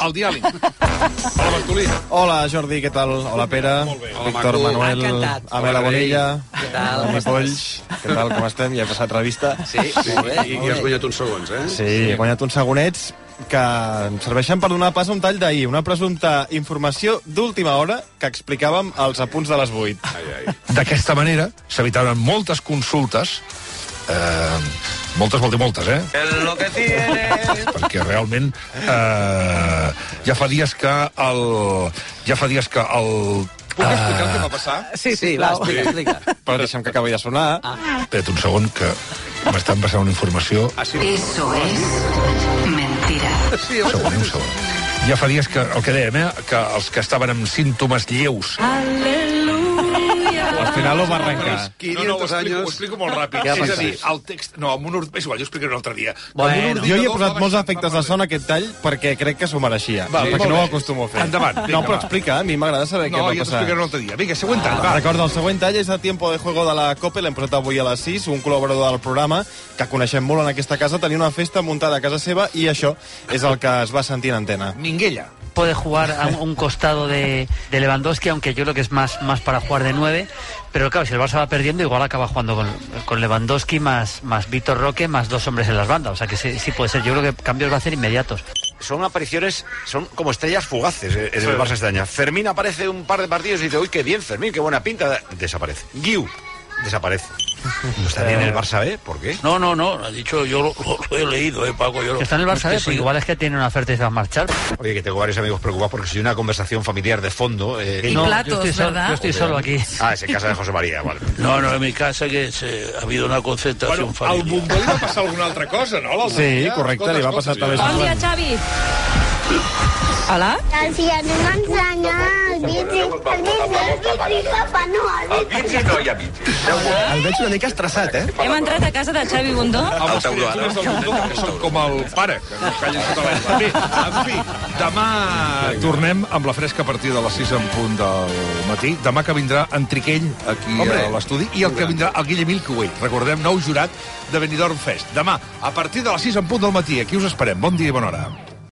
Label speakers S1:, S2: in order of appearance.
S1: El diàleg. Hola, Bartolí.
S2: Hola, Jordi, què tal? Hola, Pere.
S1: Molt bé.
S2: Víctor,
S3: maco.
S2: Manuel,
S4: Encantat.
S2: Amela
S3: Hola, Mireia.
S2: Bonilla,
S4: Què tal?
S2: Toni
S4: Com estàs?
S2: Polls. Què tal, com estem? Ja he passat revista.
S3: Sí, molt bé.
S4: I-
S3: I,
S4: i
S3: has guanyat uns segons, eh?
S2: Sí, he guanyat uns segonets que em serveixen per donar pas a un tall d'ahir, una presumpta informació d'última hora que explicàvem als apunts de les 8.
S3: Ai, ai.
S1: D'aquesta manera s'evitaran moltes consultes eh, moltes vol dir moltes, eh? Perquè realment eh, ja fa dies que el... Ja fa dies que el... Ah,
S2: Puc explicar el que va passar?
S4: Sí, sí, va,
S3: sisplau.
S4: explica, explica.
S2: Però deixa'm que acabi de sonar.
S4: Ah.
S1: Espera't un segon, que m'estan passant una informació.
S3: Ah, sí.
S5: Eso es mentira.
S3: sí
S1: Un segon, eh, un segon. Ja fa dies que, el que dèiem, eh, que els que estaven amb símptomes lleus
S2: Al final ho va arrencar.
S3: 500
S1: no, no, ho explico,
S3: anys.
S1: ho explico molt ràpid.
S3: Què ha
S1: és a
S3: passat?
S1: dir, el text... No, amb un... or- És igual, jo ho explicaré un altre dia.
S4: Bueno,
S2: Jo hi he
S3: Ordinador
S2: posat
S3: va
S2: molts
S3: baixant,
S2: efectes
S3: va
S2: de son a aquest tall perquè crec que s'ho mereixia,
S1: Va,
S2: perquè
S1: molt
S2: no ho
S1: bé.
S2: acostumo a fer.
S1: Endavant, vinga,
S2: no, però
S1: va.
S2: explica, a mi m'agrada saber
S1: No,
S2: què
S1: ja
S2: va
S1: t'ho
S2: passar. Ah,
S1: explicaré un altre dia. Vinga, següent tall,
S2: Va.
S1: va.
S2: Recorda, el següent tall és de Tiempo de Juego de la COPE, l'hem portat avui a les 6, un col·laborador del programa que coneixem molt en aquesta casa, tenia una festa muntada a casa seva i això és el que es va sentir en antena.
S1: Minguella.
S6: puede jugar a un- un costado de, de Lewandowski, aunque yo creo que es más, más para jugar de nueve. Pero claro, si el Barça va perdiendo, igual acaba jugando con, con Lewandowski más, más Vitor Roque más dos hombres en las bandas. O sea que sí, sí puede ser. Yo creo que cambios va a hacer inmediatos.
S7: son apariciones, son como estrellas fugaces eh, en el Barça este año. Fermín aparece un par de partidos y dice, uy, qué bien Fermín, qué buena pinta. Desaparece. Guiu, desaparece. No está bien el Barça B, ¿por qué?
S8: No, no, no, ha dicho, yo lo, lo- lo he leído, eh, Paco. Yo lo-
S6: Que Está en el Barça,
S8: Es que
S6: B, pues
S8: sí.
S6: igual es que tiene una oferta y se va a marchar.
S7: Oye, que tengo varios amigos preocupados porque si una conversación familiar de fondo... eh,
S6: Y
S9: platos,
S6: yo estoy, sol-
S9: ¿verdad?
S6: yo estoy solo aquí.
S7: Ah, es en casa de José María, vale.
S8: No, no, en mi casa que se- ha habido una concentración
S1: Bueno, al
S8: familiar.
S1: Bombó li va passar alguna altra cosa, no? l'altre
S2: Sí,
S1: dia?
S2: correcte, li va passar també.
S9: Bon dia, Xavi. Hola.
S10: Si anem a ensenyar el bici, el bici, el bici, papa, no, el bici.
S3: El veig una mica estressat, eh?
S9: Hem entrat a casa de Xavi Bundó.
S1: amb les criatures del Bombó, que són com el pare, que no callen sota l'aigua. Bé, en fi, demà tornem amb la fresca a partir de les 6 en punt del matí. Demà que vindrà en Triquell aquí
S3: Hombre.
S1: a l'estudi i el que vindrà el Guillem Ilcuell, recordem, nou jurat de Benidorm Fest. Demà, a partir de les 6 en punt del matí, aquí us esperem. Bon dia i bona hora.